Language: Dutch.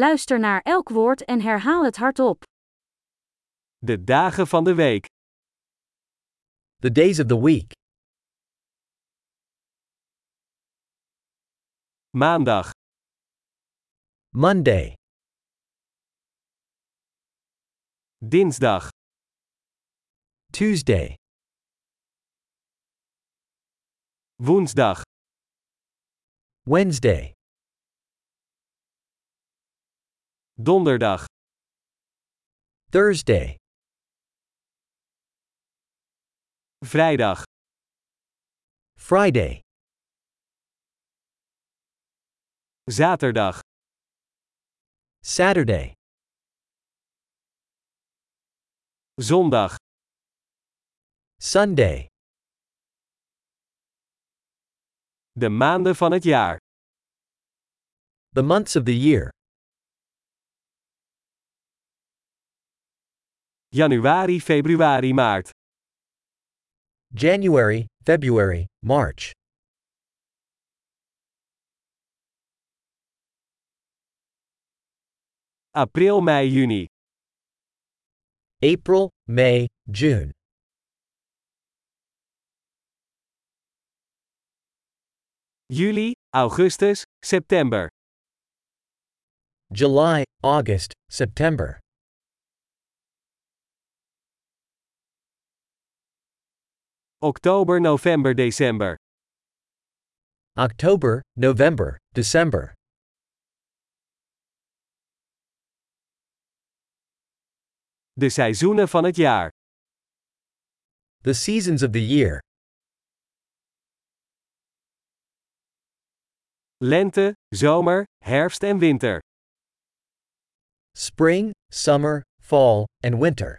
Luister naar elk woord en herhaal het hardop. De dagen van de week. The days of the week Maandag, Monday, dinsdag, Tuesday, woensdag, Wednesday, donderdag, Thursday, vrijdag, Friday, zaterdag, Saturday, zondag, Sunday. de maanden van het jaar. The months of the year Januari, februari, maart, January, February, March, april, mei, juni, April, May, June, juli, augustus, september, July, August, September, oktober, november, december, October, November, December, de seizoenen van het jaar. the seasons of the year Lente, zomer, herfst en winter. spring, summer, fall, and winter,